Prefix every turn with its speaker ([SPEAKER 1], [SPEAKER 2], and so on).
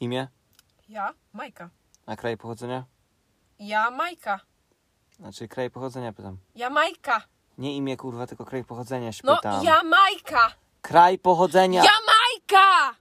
[SPEAKER 1] Imię,
[SPEAKER 2] Ja Majka.
[SPEAKER 1] a kraj pochodzenia?
[SPEAKER 2] Ja Majka.
[SPEAKER 1] Znaczy kraj pochodzenia pytam.
[SPEAKER 2] Ja Majka.
[SPEAKER 1] Nie imię kurwa, tylko kraj pochodzenia się
[SPEAKER 2] No
[SPEAKER 1] pytam.
[SPEAKER 2] ja Majka.
[SPEAKER 1] Kraj pochodzenia!
[SPEAKER 2] Ja Majka!